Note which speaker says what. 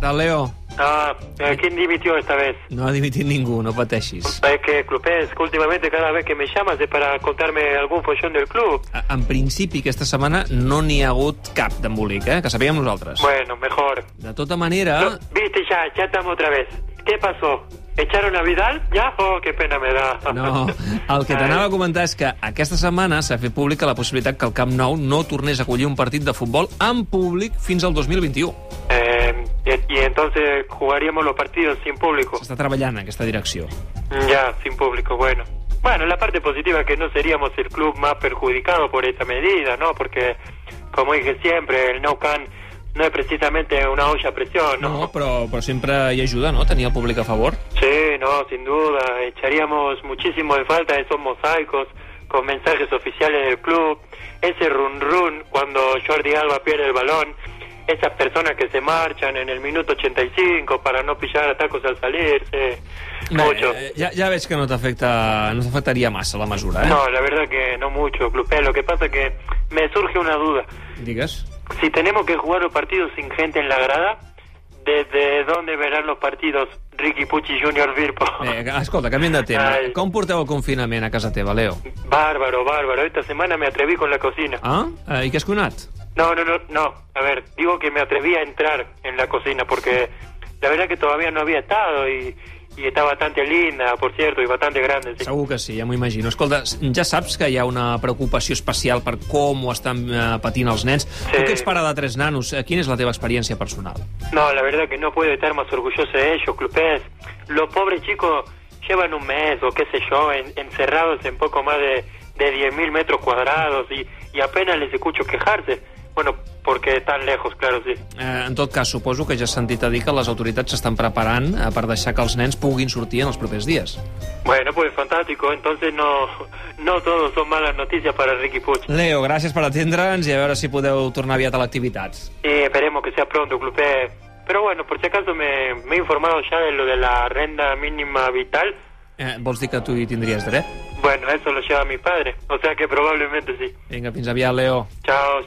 Speaker 1: tal, Leo?
Speaker 2: Ah, eh, ¿quién dimitió esta vez?
Speaker 1: No ha dimitit ningú, no pateixis.
Speaker 2: Es que Clupés, que últimamente cada vez que me llamas es para contarme algún follón del club.
Speaker 1: A- En principi, aquesta setmana no n'hi ha hagut cap d'embolic, eh? Que sapiguem nosaltres.
Speaker 2: Bueno, mejor.
Speaker 1: De tota manera...
Speaker 2: No, Viste, ya, ya estamos otra vez. ¿Qué pasó? ¿Echaron a Vidal? ¿Ya? Oh, qué pena me da.
Speaker 1: No, el que t'anava a comentar és que aquesta setmana s'ha fet pública la possibilitat que el Camp Nou no tornés a acollir un partit de futbol en públic fins al 2021.
Speaker 2: Eh, y, y entonces jugaríamos los partidos sin público.
Speaker 1: S'està treballant en aquesta direcció.
Speaker 2: Ya, sin público, bueno. Bueno, la parte positiva es que no seríamos el club más perjudicado por esta medida, ¿no? Porque, como dije siempre, el No Can no es precisamente una olla a presión, ¿no?
Speaker 1: No, però, però sempre hi ajuda, no?, tenir el públic a favor.
Speaker 2: Sí, no, sin duda. Echaríamos muchísimo de falta esos mosaicos con mensajes oficiales del club, ese run run cuando Jordi Alba pierde el balón, esas personas que se marchan en el minuto 85 para no pillar atacos al salirse. Mucho.
Speaker 1: Eh, ja, ja veig que no t'afecta... no t'afectaria massa la mesura, eh?
Speaker 2: No, la verdad que no mucho, Clupé. Lo que pasa que me surge una duda.
Speaker 1: Digues.
Speaker 2: Si tenemos que jugar los partidos sin gente en la grada, ¿desde dónde verán los partidos Ricky Pucci Junior Virpo?
Speaker 1: Bé, escolta, canviem de tema.
Speaker 2: Ai.
Speaker 1: Com porteu el confinament a casa teva, Leo?
Speaker 2: Bárbaro, bárbaro. Esta semana me atreví con la cocina.
Speaker 1: Ah? Eh, I què has cuinat?
Speaker 2: No, no, no, no. A ver, digo que me atreví a entrar en la cocina porque la verdad que todavía no había estado y, y está bastante linda, por cierto, y bastante grande. sí.
Speaker 1: Segur que sí, ja m'ho imagino. Escolta, ja saps que hi ha una preocupació especial per com ho estan eh, patint els nens. Sí. Tu que ets pare de tres nanos, eh, quina és la teva experiència personal?
Speaker 2: No, la verdad que no puedo estar más orgulloso de ellos, Clupés. Los pobres chicos llevan un mes o qué sé yo, en- encerrados en poco más de, de 10.000 metros cuadrados y, y apenas les escucho quejarse. Bueno, porque están lejos, claro, sí.
Speaker 1: Eh, en tot cas, suposo que ja has sentit a dir que les autoritats s'estan preparant eh, per deixar que els nens puguin sortir en els propers dies.
Speaker 2: Bueno, pues fantástico. Entonces no, no todos son malas noticias para Ricky Puch.
Speaker 1: Leo, gràcies per atendre'ns i a veure si podeu tornar aviat a l'activitat.
Speaker 2: Y esperemos que sea pronto, Clupés. Pero bueno, por si acaso me, me he informado ya de lo de la renta mínima vital.
Speaker 1: Eh, vols dir que tu hi tindries dret?
Speaker 2: Bueno, eso lo lleva mi padre. O sea que probablemente sí.
Speaker 1: Vinga, fins aviat, Leo.
Speaker 2: Chao,